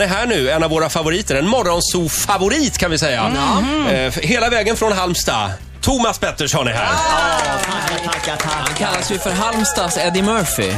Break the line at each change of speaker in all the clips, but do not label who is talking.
är här nu, en av våra favoriter. En morgonso-favorit kan vi säga.
Mm. Mm-hmm.
Eh, f- hela vägen från Halmstad. Thomas Pettersson är här.
Ah. Tackar, tackar, tackar.
Han kallas ju för Halmstads Eddie Murphy.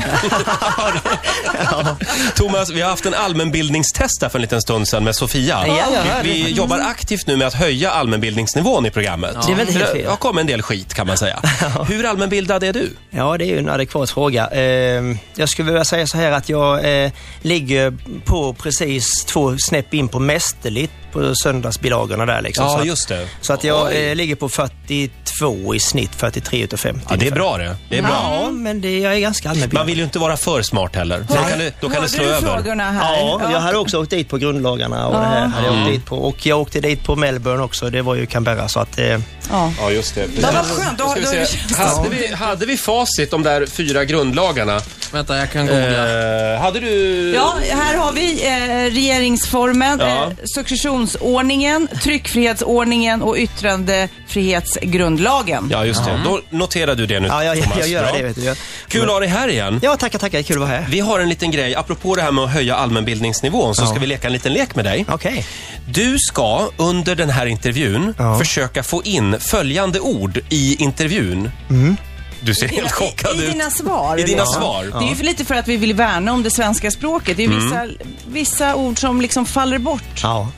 Thomas, vi har haft en allmänbildningstest här för en liten stund sedan med Sofia.
Ja, jag hörde.
vi, vi jobbar aktivt nu med att höja allmänbildningsnivån i programmet.
Det är väl helt fel.
Det har kommit en del skit kan man säga. Hur allmänbildad är du?
Ja, det är ju en adekvat fråga. Eh, jag skulle vilja säga så här att jag eh, ligger på precis två snäpp in på mästerligt på söndagsbilagorna där liksom.
Ja,
så att,
just det.
Så att jag
Oj.
eh, ligger på 42 i snitt, 43 utav 50.
Ja, det är bra det. Det är bra.
Ja, men det, jag är ganska
Man
allmänbildad.
vill ju inte vara för smart heller. Då kan det, då kan det slå
Hörde du
över.
frågorna här?
Ja, Mm. jag hade också åkt dit på grundlagarna och det här hade jag åkt dit på. Och jag åkte dit på Melbourne också, det var ju Canberra så att... Eh,
Ja.
Ja, just det.
Vad var skönt. Då,
Ska vi
då,
se. Hade, vi, hade vi facit om de där fyra grundlagarna?
Vänta, jag kan googla.
Eh, hade du...
Oh, Ja, här har vi eh, regeringsformen,
Ja.
eh, successionsordningen, tryckfrihetsordningen och yttrandefrihetsgrundlagen.
Ja, just det. Då noterar du det nu,
ja, jag,
Thomas.
jag gör
Bra.
det vet du. Jag-
Kul att ha dig här igen.
Ja, tackar, tackar. Kul att vara här.
Vi har en liten grej, apropå det här med att höja allmänbildningsnivån, så ska vi leka en liten lek med dig.
Okej.
Du ska under den här intervjun
Ja.
försöka få in följande ord i intervjun. Du ser helt chockad
Mm. I,
ut.
I dina svar.
I dina
Ja.
svar. Mm.
Det är ju för lite för att vi vill värna om det svenska språket. Det är ju vissa, vissa ord som liksom faller bort.
Ja.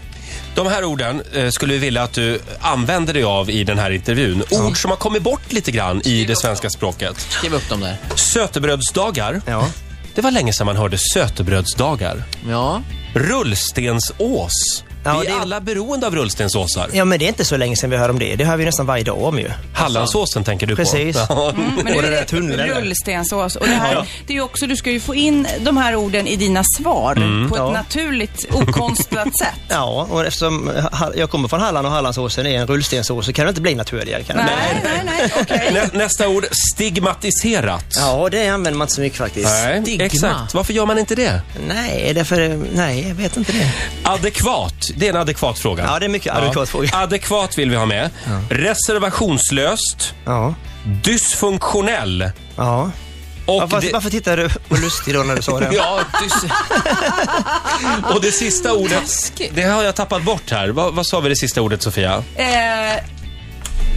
De här orden eh, skulle vi vilja att du använder dig av i den här intervjun. Ord som har kommit bort lite grann i det svenska språket.
Skriv upp dem där.
Sötebrödsdagar.
Ja.
Det var länge sedan man hörde sötebrödsdagar.
Ja.
Rullstensås.
Ja,
vi är
det är-
alla beroende av rullstensåsar.
Ja, alltså. men det är inte så länge sedan vi hör om det. Det hör vi nästan varje dag om ju.
Hallandsåsen tänker du
Precis. Mm.
på. Ja.
Men
Och
nu
den
är
där tunneln.
rullstensås. Och det, här, det är ju också, du ska ju få in de här orden i dina svar
Mm.
på ett
Ja.
naturligt, okonstlat sätt.
Ja, och eftersom eh, ha- jag kommer från Halland och Hallandsåsen är en rullstensås så kan det inte bli naturligare. Kan det?
Nej, nej, nej. okej.
Nä, nästa ord, stigmatiserat.
Ja, det använder man inte så mycket faktiskt.
Nej,
Stigma.
exakt. Varför gör man inte det?
Nej, därför, nej, jag vet inte det.
Adekvat. Det är en adekvat fråga.
Ja, det är mycket adekvat fråga.
Adekvat vill vi ha med. Reservationslöst,
Ja,
dysfunktionell
ja.
och,
Varför,
det,
varför tittar du på Lustig då när du sa det?
Ja, du...
och det sista ordet. Det har jag tappat bort här. Vad, vad sa vi det sista ordet, Sofia?
Eh,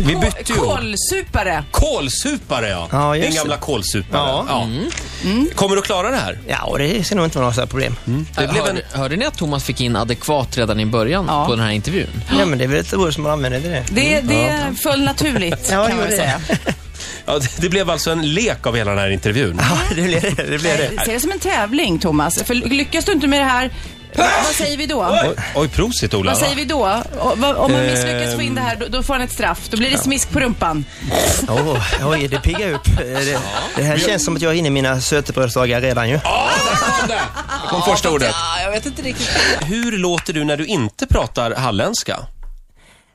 Vi
Ko-
bytte ju ord.
Kolsupare.
Kålsupare, ja.
Ja, just
Den
det.
gamla kålsuparen.
Ja.
Mm.
Kommer du klara det här?
Ja, och det ser nog inte vara några sådana problem.
Mm.
Det blev en...
Hör, hörde ni att Thomas fick in adekvat redan i början
Ja.
på den här intervjun?
Ja, men det är väl ett ord som man använder till det.
Det, det föll naturligt
Mm, Ja,
kan man
gjorde det.
säga.
ja, det- det blev alltså en lek av hela den här intervjun.
Ja, det blir det. det, blir det.
Se det som en tävling Thomas. För lyckas du inte med det här, vad säger vi då?
Oj, oj prosit, Ola.
Vad säger vi då? Och vad- Om man misslyckas
Eh,
Ehm.
få in det här, då, då får han ett straff. Då blir det smisk på rumpan.
Åh, oj, det piggar upp. Det, det här känns som att jag är inne i mina sötebrödsdagar redan ju.
Ja, där kom det! Där kom första ordet.
jag vet inte riktigt.
Hur låter du när du inte pratar halländska?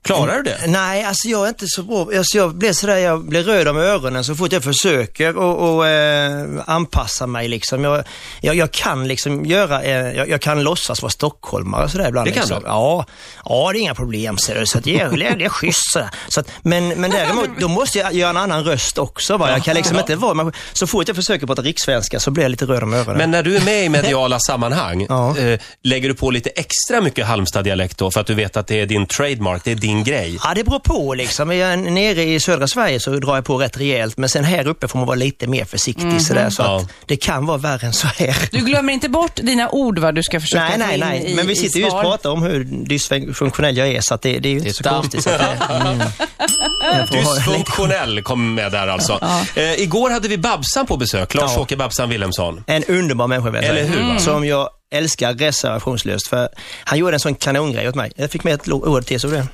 Klarar du det?
Nej, alltså jag är inte så bra. Alltså jag blir sådär, jag blir röd om öronen så fort jag försöker och, och eh, anpassa mig liksom. Jag, jag, jag kan liksom göra, eh, jag, jag kan låtsas vara stockholmare och sådär ibland.
Det kan
liksom.
du?
Ja, ja, det är inga problem ser du. Så att jag, jag, jag är schysst sådär. Så att, men, men däremot, då måste jag göra en annan röst också. Va? Jag kan liksom inte vara, man- så fort jag försöker prata rikssvenska så blir jag lite röd om öronen.
Men när du är med i mediala sammanhang,
Ja.
eh, lägger du på lite extra mycket Halmstad-dialekt då för att du vet att det är din trademark, det är din grej?
Ja, det beror på liksom. Är jag nere i södra Sverige så drar jag på rätt rejält, men sen här uppe får man vara lite mer försiktig sådär, så
Ja.
att det kan vara värre än så här.
Mhm. Du glömmer inte bort dina ord vad du ska försöka
Nej,
få
nej,
in
nej,
I,
men vi sitter ju
i
och
svar.
pratar om hur dysfunktionell jag är, så att det, det är ju inte
är
så
damp.
konstigt. Så att det, mm, jag får ha det lite.
Dysfunktionell kom med där alltså. Eh, igår hade vi Babsan på besök, Lars-Åke Babsan Wilhelmsson.
En underbar människa, vill jag säga.
Eller hur, Mm. va?
Som jag älskar reservationslöst, för han gjorde en sån kanongrej åt mig. Jag fick med ett lo- ord till, så det.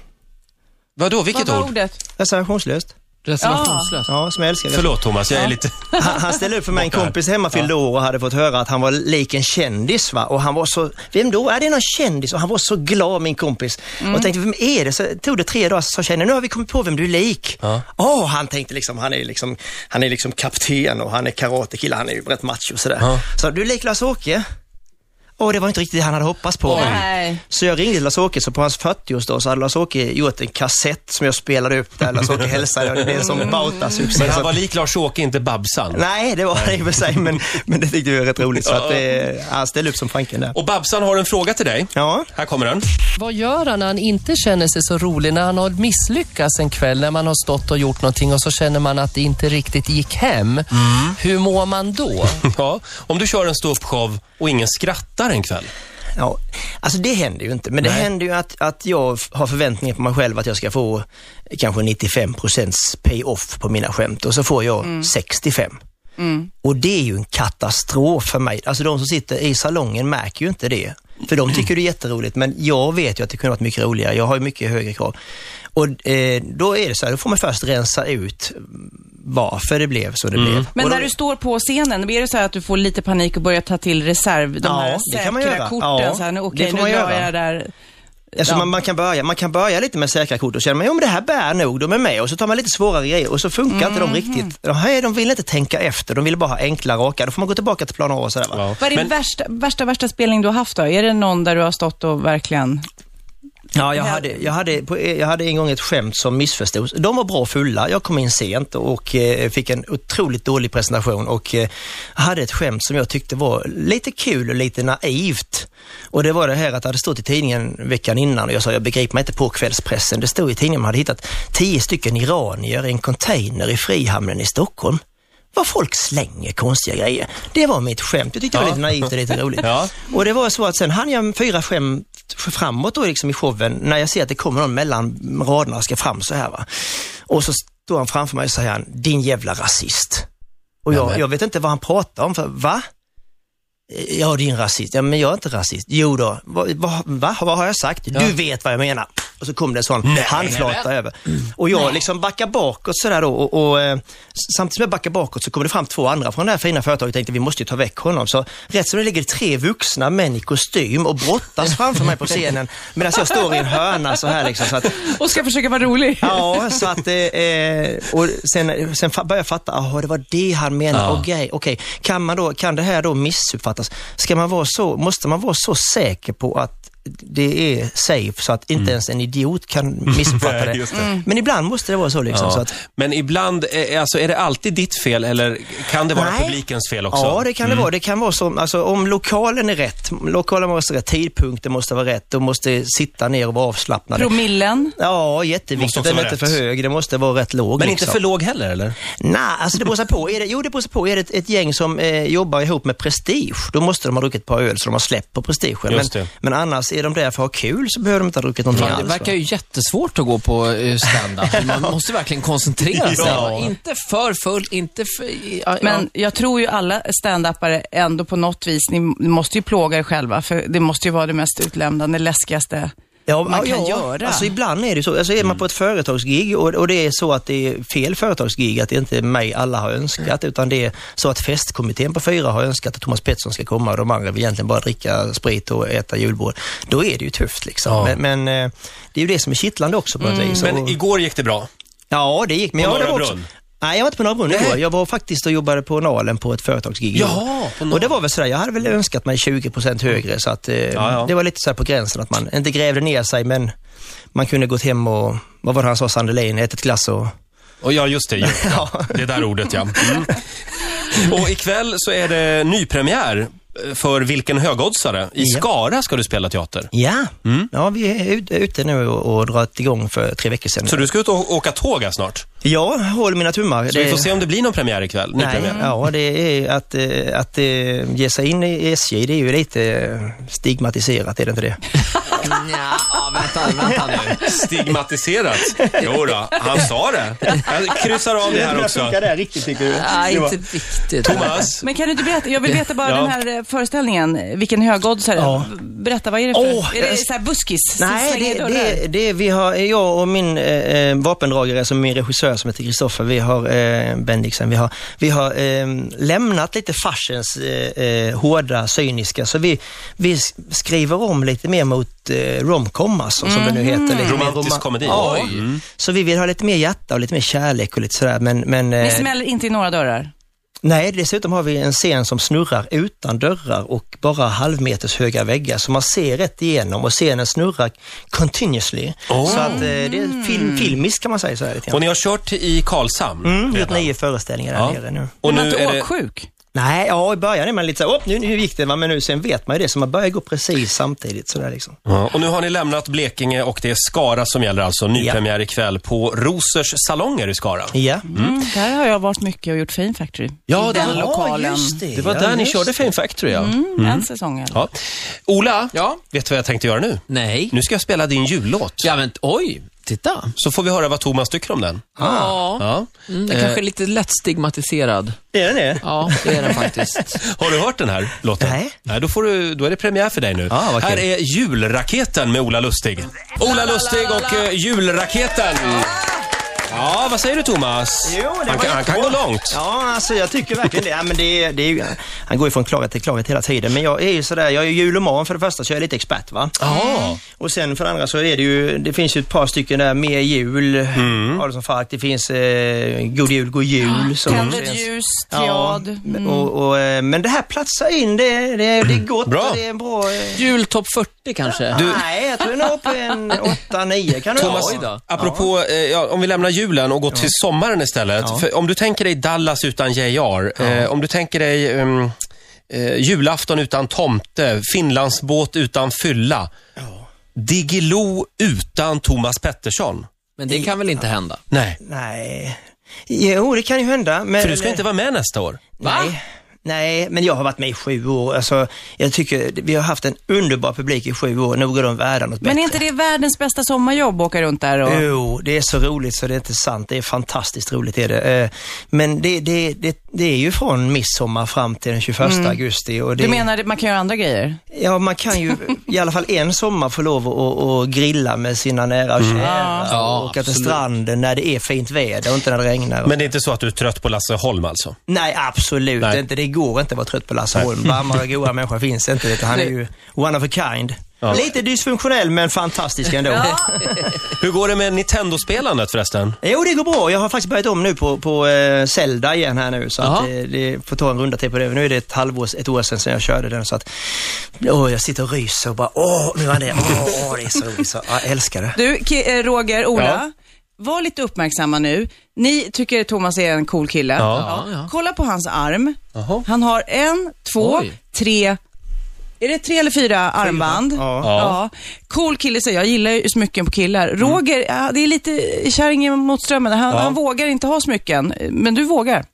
Vadå,
Vad
vilket
var
ord?
ordet?
Reservationslöst.
Reservationslöst.
Ja, som jag älskar.
Förlåt Thomas, jag är lite...
Han, han ställde upp för mig, en kompis hemma fyllde år och hade fått höra att han var lik en kändis va. Och han var så, vem då? Är det någon kändis? Och han var så glad min kompis.
Mm.
Och tänkte, vem är det? Så tog det tre dagar så sa tjejen, nu har vi kommit på vem du är lik. Åh, han tänkte liksom, han är liksom, han är liksom kapten och han är karatekille, han är ju rätt macho och sådär. Så du är lik Lars-Åke. Åh, och det var inte riktigt det han hade hoppats på.
Nej.
Så jag ringde Lars-Åke, så på hans 40-årsdag så hade Lars-Åke gjort en kassett som jag spelade upp där Lars-Åke hälsade. och Det är en sån bautasuccé.
Men
så-
han var lik Lars-Åke, inte Babsan.
Nej, det var det i och för sig, men, men det tyckte vi var rätt roligt. Så att, eh, han ställde upp som Franken där.
Och Babsan har en fråga till dig.
Ja.
Här kommer den.
Vad gör han när han inte känner sig så rolig? När han har misslyckats en kväll, när man har stått och gjort någonting och så känner man att det inte riktigt gick hem.
Mm.
Hur mår man då?
Ja, om du kör en ståuppshow och ingen skrattar en kväll.
Ja, alltså det händer ju inte, men det
Nej.
händer ju att, att jag f- har förväntningar på mig själv att jag ska få kanske 95 pay-off på mina skämt och så får jag 65. Och det är ju en katastrof för mig. Alltså de som sitter i salongen märker ju inte det. För de tycker det är jätteroligt, men jag vet ju att det kunde varit mycket roligare. Jag har ju mycket högre krav. Och eh, då är det så här, då får man först rensa ut varför det blev så det blev.
Men
Och då-
när du står på scenen, är det så här att du får lite panik och börjar ta till reserv, de
Ja,
här
det kan man
säkra
göra.
korten?
Ja,
så här, nu,
det
okej,
får
nu
man
drar
göra.
jag där.
Alltså
Ja.
man, man, kan börja, man kan börja lite med säkra kort och känna, men, jo, men det här bär nog, de är med. Och så tar man lite svårare grejer och så funkar inte de riktigt. De, här, de vill inte tänka efter, de vill bara ha enkla, raka. Då får man gå tillbaka till plan A och sådär. Va?
Ja.
Vad är din
Men-
värsta, värsta, värsta spelning du har haft då? Är det någon där du har stått och verkligen...
Ja, jag hade, jag, hade, på- jag hade en gång ett skämt som missförstods. De var bra fulla, jag kom in sent och eh, fick en otroligt dålig presentation och eh, hade ett skämt som jag tyckte var lite kul och lite naivt. Och det var det här att det hade stått i tidningen veckan innan och jag sa jag begriper mig inte på kvällspressen. Det stod i tidningen man hade hittat tio stycken iranier i en container i Frihamnen i Stockholm. Vad folk slänger konstiga grejer. Det var mitt skämt. Jag tyckte det var
Ja.
lite naivt och lite roligt.
Ja.
Och det var så att sen hann jag fyra skämt framåt då liksom i showen när jag ser att det kommer någon mellan raderna och ska fram så här va. Och så står han framför mig och säger han, din jävla rasist. Och jag, jag vet inte vad han pratar om, för va? Ja, din rasist. Ja, men jag är inte rasist. Jo då. Va, va, va? Vad har jag sagt? Du vet vad jag menar. Och så kom det en sån handflata över. Och jag liksom backar bakåt sådär då och, och eh, s- samtidigt som jag backar bakåt så kommer det fram två andra från det här fina företaget och tänkte vi måste ju ta väck honom. Så rätt som det ligger det tre vuxna män i kostym och brottas framför mig på scenen medan jag står i en hörna så här liksom. Så att,
Och ska försöka vara rolig?
Ja, så att... eh, Eh, och sen, sen fa- började jag fatta, aha, det var det han menade.
Ja.
Okej, okej. Kan, man då, kan det här då missuppfattas? Ska man vara så, måste man vara så säker på att det är safe så att inte ens en idiot kan missuppfatta
Mm. Nej,
det. Mm.
just det.
Men ibland måste det vara så liksom. Så
Ja.
att,
Men ibland, eh, alltså är det alltid ditt fel eller kan det vara
Nej.
publikens fel också? Mm.
Ja, det kan det vara. Det kan vara så, alltså, om lokalen är rätt, lokalen måste vara rätt, tidpunkten måste vara rätt, de måste sitta ner och vara avslappnade.
Promillen?
Ja,
Måste
jätteviktigt.
också
Den är
vara
inte
rätt.
för hög, den måste vara rätt låg.
Men
liksom.
inte för låg heller, eller?
Nej, alltså det beror sig på. Är det, jo, det beror sig på. Är det ett, ett gäng som eh, jobbar ihop med prestige, då måste de ha druckit ett par öl så de har släppt på prestigen. Men,
Just det.
men annars, är de där för att ha kul så behöver de inte ha druckit någonting
Fan, det
alls. va?
verkar ju jättesvårt att gå på eh, stand-up. Man måste verkligen koncentrera sig.
Ja.
Inte för full, inte för... Ja,
Men jag tror ju alla standupare ändå på något vis, ni måste ju plåga er själva, för det måste ju vara det mest utlämnande, läskigaste.
Ja,
man
ja,
kan
ja.
göra.
Alltså ibland är det så. Alltså är man på ett företagsgig och, och det är så att det är fel företagsgig, att det inte är mig alla har önskat, utan det är så att festkommittén på fyra har önskat att Thomas Pettersson ska komma och de andra vill egentligen bara dricka sprit och äta julbord. Då är det ju tufft liksom.
Ja.
Men, men eh, det är ju det som är kittlande också på något vis.
Men
Och-
igår gick det bra.
Ja, det gick. Men
På
jag, det
Norra
var också,
Brunn?
Nej, jag var inte på Norra Brunn igår. Jag var faktiskt och jobbade på Nalen på ett företagsgig. igår.
Jaha, på
och det var väl sådär, jag hade väl önskat mig 20% högre så att eh,
ja.
det var lite sådär på gränsen att man inte grävde ner sig men man kunde gått hem och, vad var det han sa, Sandelin, ätit glass och...
Och ja, just det. Just, ja. Det där ordet, ja. Mm. Och ikväll så är det nypremiär eh, för Vilken högoddsare? I
Ja.
Skara ska du spela teater.
Ja, ja vi är ut- ute nu och, och dragit igång för tre veckor sedan.
Så du ska ut och åka tåg här snart.
Ja, håll mina tummar.
Så vi får se om det blir någon premiär ikväll.
Nej,
Nypremiär.
ja, det är att, eh, att eh, ge sig in i SJ, det är ju lite eh, stigmatiserat, är det inte det?
Nja, ja, vänta, vänta nu.
Stigmatiserat. Jo då, han sa det. Jag kryssar av det här också.
det riktigt, tycker du?
Nej, inte riktigt.
Thomas,
Men kan du inte berätta, jag vill veta bara
Ja.
den här eh, föreställningen, eh, vilken högoddsare.
Ja.
Berätta, vad är det för?
Åh,
är det
jag-
så här buskis?
Nej,
Slänger
det,
dörrar?
det, det vi har, jag och min eh, eh, vapendragare, som min regissör som heter Kristoffer, vi har eh, Bendixen, vi har, vi har eh, lämnat lite farsens eh, eh, hårda, cyniska, så vi, vi s- skriver om lite mer mot eh, romcom alltså, som det nu heter. Lite mer
romantisk
roma-
komedi. Mm.
Ja,
Oj.
så vi vill ha lite mer hjärta och lite mer kärlek och lite sådär, men... men
Ni
eh,
smäller inte i några dörrar?
Nej, dessutom har vi en scen som snurrar utan dörrar och bara halvmeters höga väggar, så man ser rätt igenom och scenen snurrar continuously.
Oh.
Så att eh, det
Mm.
är film, filmiskt kan man säga så här lite
Och
grann.
ni har kört i Karlshamn?
Mm, gjort
redan.
nio föreställningar där
Ja.
nere nu.
Och
men man
nu
inte
är det...
åksjuk?
Nej, ja i början är man lite så här, "Åh, nu, nu gick det va, men nu sen vet man ju det, så man börjar gå precis samtidigt sådär liksom.
Ja, och nu har ni lämnat Blekinge och det är Skara som gäller alltså. Nypremiär ikväll på Rosers salonger i Skara.
Ja.
Mm. Där har jag varit mycket och gjort Fame Factory.
Ja,
I den
det-
lokalen.
Det var där ni körde Fame Factory, ja.
Mm, En säsong eller?
ja. Ola,
Ja.
vet du vad jag tänkte göra nu?
Nej.
Nu ska jag spela din jullåt.
Ja, men oj, titta.
Så får vi höra vad Thomas tycker om den.
Ah.
Ja.
Ja.
Mm, den kanske är lite lätt stigmatiserad.
Det är det.
Ja, det är den faktiskt.
Har du hört den här låten?
Nej.
Nej då, får du, då är det premiär för dig nu.
Ah, vad kul.
här är julraketen med Ola Lustig. Ola Lustig och eh, julraketen. Ja, vad säger du Thomas?
Ah. Jo, det
han,
var
kan, han kan gå
jättebra.
långt.
Ja, alltså jag tycker verkligen det. Ja, men det, är- det är ju, han går ju från klarhet till klarhet hela tiden. Men jag är ju sådär, jag är ju juloman för det första, så jag är lite expert va.
Ja.
Och sen för det andra så är det ju, det finns ju ett par stycken där, Mer jul,
Mm.
Adolfsson Falk, det finns eh, God jul, God jul. som
Tänd
känns-
ett ljus, triad. Mm.
men- och, och, eh, men det här platsar in, det, det, det är gott
Mm. Bra.
och det är en bra... eh,
Jultopp 40 kanske?
Nej, jag tror den är uppe i en 8-9 kan det
Thomas,
vara.
apropå, eh, ja, om vi lämnar julen och går till sommaren istället. För om du tänker dig Dallas utan JR, eh, om du tänker dig ehm, eh, julafton utan tomte, Finlandsbåt utan fylla, Diggiloo utan Thomas Pettersson.
Men det kan väl inte hända?
Nej,
Nej. Jo, det kan ju hända. Men,
för du ska inte vara med nästa år.
Nej. Nej, men jag har varit med i sju år. Alltså, jag tycker vi har haft en underbar publik i sju år. Nog är de värda något
Men
bättre.
är inte det världens bästa sommarjobb att åka runt där och...
Jo, det är så roligt så det är inte sant. Det är fantastiskt roligt är det. Eh, Men det, det, det, det är ju från midsommar fram till den 21 augusti. Och det,
Mm. Du menar att man kan göra andra grejer?
Ja, man kan ju i alla fall en sommar få lov att, att, att grilla med sina nära och
Mm.
kära
Ja,
och åka till stranden när det är fint väder och inte när det regnar.
Men det är inte så att du är trött på Lasse Holm alltså?
Nej, absolut
Nej.
inte. Det går inte att vara trött på Lasse Holm. Varmare och goa människor finns inte. vet du. Han är ju one of a kind. Lite dysfunktionell men fantastisk ändå.
Hur går det med Nintendo-spelandet förresten?
Jo, det går bra. Jag har faktiskt börjat om nu på, på eh, Zelda igen här nu. Så att,
Jaha.
eh, det får ta en runda till på det. Nu är det ett halvår, ett år sedan, sedan jag körde den. Så att, åh, jag sitter och ryser och bara, åh, nu var det, åh, åh, det är så roligt. Så, ja, jag älskar det.
Du, Ki- eh, Roger, Ola.
Ja.
Var lite uppmärksamma nu. Ni tycker Thomas är en cool kille.
Ja.
Kolla på hans arm.
Jaha.
Han har en, två,
Oj.
tre, är det tre eller fyra armband?
Ja.
Ja. Mm.
Cool kille säger jag. gillar ju smycken på killar. Roger, ja, det är lite kärring mot strömmen. Han, han vågar inte ha smycken, men du vågar.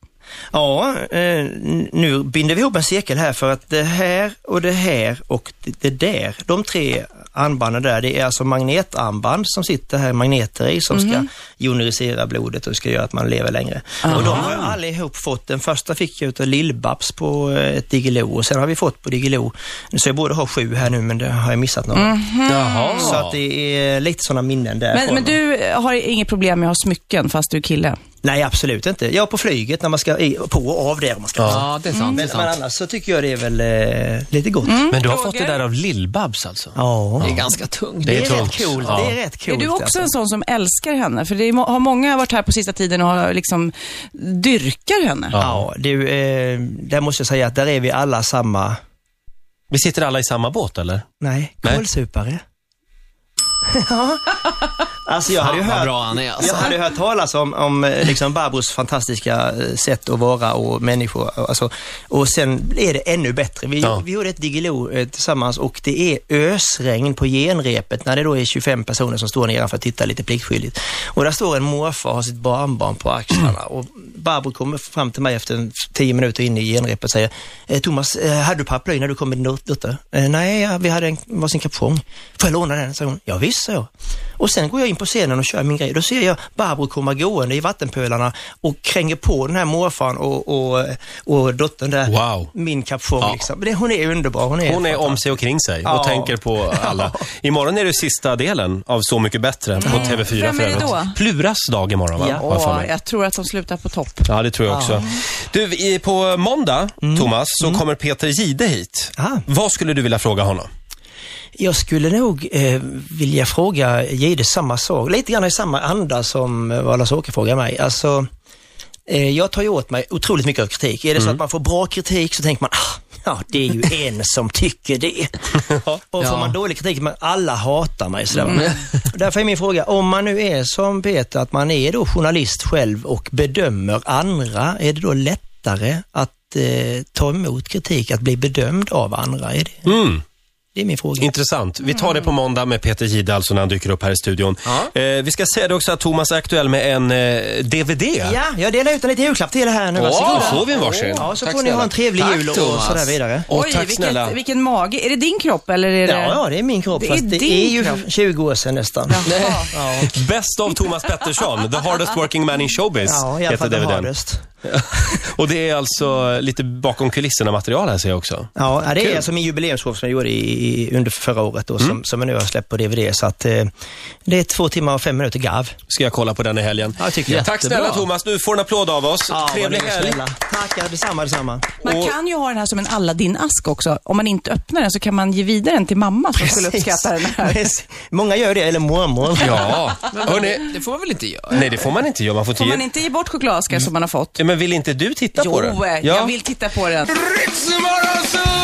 Ja, eh, nu binder vi ihop en cirkel här för att det här och det här och det- det där, de tre armbanden där, det är alltså magnetarmband som sitter här magneter i som
Mhm.
ska jonisera blodet och ska göra att man lever längre. Och de har jag allihop fått. Den första fick jag utav Lill-Babs på eh, ett Diggiloo och sen har vi fått på Diggiloo, så jag borde ha sju här nu men det har jag missat några.
Jaha.
Så att det är lite sådana minnen där.
Mhm. Men, men du eh, har inget problem med att ha smycken fast du är kille?
Nej, absolut inte. Ja, på flyget när man ska i- på och av där om man ska
Ja, det är sant. Det är
Men, men
sant.
annars så tycker jag det är väl eh, lite gott.
Men du har
Roger?
fått det där av Lill-Babs alltså?
Ja.
Det är ganska tungt.
Det är
Det är
tungt.
rätt coolt.
Ja.
Det är rätt coolt.
är du också
alltså.
en sån som älskar henne? För det är, må- har många varit här på sista tiden och har liksom dyrkar henne.
Ja, du, eh, där måste jag säga att där är vi alla samma...
Vi sitter alla i samma båt eller?
Nej,
Nej.
kålsupare. Ja. alltså jag hade ju
Fan, vad
hört...
bra han är alltså.
Jag hade hört talas om, om eh, liksom Barbros fantastiska eh, sätt att vara och människor. och- Alltså, och sen är det ännu bättre. Vi,
Ja.
vi gjorde ett Diggiloo eh, tillsammans och det är ösregn på genrepet när det då är 25 personer som står nedanför och tittar lite pliktskyldigt. Och där står en morfar och har sitt barnbarn på axlarna och Barbro kommer fram till mig efter en 10 minuter in i genrepet och säger "Eh, Thomas, eh, hade du paraply när du kom med din dot- dotter? "Eh, Nej, ja, vi hade en varsin kapsong. Får jag låna den? sa hon. Ja, visst, sa jag. Och sen går jag in på scenen och kör min grej. Då ser jag Barbro komma gående i vattenpölarna och kränger på den här morfar och, och, och dottern där.
Wow.
Min kapsong
Ja.
liksom. Det, hon är underbar. Hon är,
Hon är om
fantastisk.
sig och kring sig och
Ja.
tänker på alla. Imorgon är det sista delen av Så mycket bättre på TV4 för
Mm. Vem är det
övrigt.
då?
Pluras dag imorgon va?
Ja.
Har jag för
Åh,
mig.
jag tror att de slutar på topp.
Ja, det tror jag också. Du, i- på måndag,
Mm.
Thomas, så kommer Peter Gide hit.
Ah.
Vad skulle du vilja fråga honom?
Jag skulle nog eh, vilja fråga Jihde samma sak. Lite grann i samma anda som eh, vad Lars-Åke frågar mig. Alltså, Eh, Jag tar ju åt mig otroligt mycket av kritik. Är det
Mm.
så att man får bra kritik så tänker man, ah, ja det är ju en som tycker det. Och får
Ja. Mm.
man dålig kritik, men alla hatar mig. Sådär. va. Därför är min fråga, om man nu är som Peter, att man är då journalist själv och bedömer andra, är det då lättare att eh, ta emot kritik, att bli bedömd av andra? Är det,
Mm.
det är min fråga.
Intressant. Vi tar det på måndag med Peter Jihde alltså när han dyker upp här i studion. Eh, vi ska säga det också att Thomas är aktuell med en eh, DVD.
Ja, jag delar ut en liten julklapp till er här nu.
Åh,
Varsågoda.
får vi en varsin?
Ja, så
Tack
får ni ha en trevlig
Tack,
jul och
Thomas.
sådär vidare.
Och
Oj,
tack snälla.
vilken, vilken mage. Är det din kropp eller är det...
Ja, ja, det är min kropp.
Det är
fast det
din
är ju
kropp.
20 år sedan nästan.
Jaha.
Best of Thomas Pettersson, The Hardest Working Man in Showbiz,
Ja, i alla fall den
DVD:n.
hardest.
Och det är alltså lite bakom kulisserna material här ser jag också.
Ja, ja, det är alltså min jubileumsshow som jag gjorde i, i, under förra året då, som, som jag nu har släppt på DVD. Så att eh, det är två timmar och fem minuter garv.
Ska jag kolla på den i helgen.
Ja, det tycker jag.
Tack snälla Thomas, du får en applåd av oss.
Ja, vad
Trevlig
ni är
helg.
snälla. Tack, ja, detsamma, detsamma.
Man kan ju ha den här som en Aladdin-ask också. Om man inte öppnar den så kan man ge vidare den till mamma som skulle uppskatta den här.
Precis. Många gör det, eller mormor.
Ja, hörni.
Det får man väl inte göra?
Nej, det får man inte göra. Man får inte
Får
ge...
man inte ge bort chokladaskar som man har fått?
eh,
Ja, men vill inte du titta på
Jo,
den?
eh, jag vill titta på den.
Ritzmorgonzoo!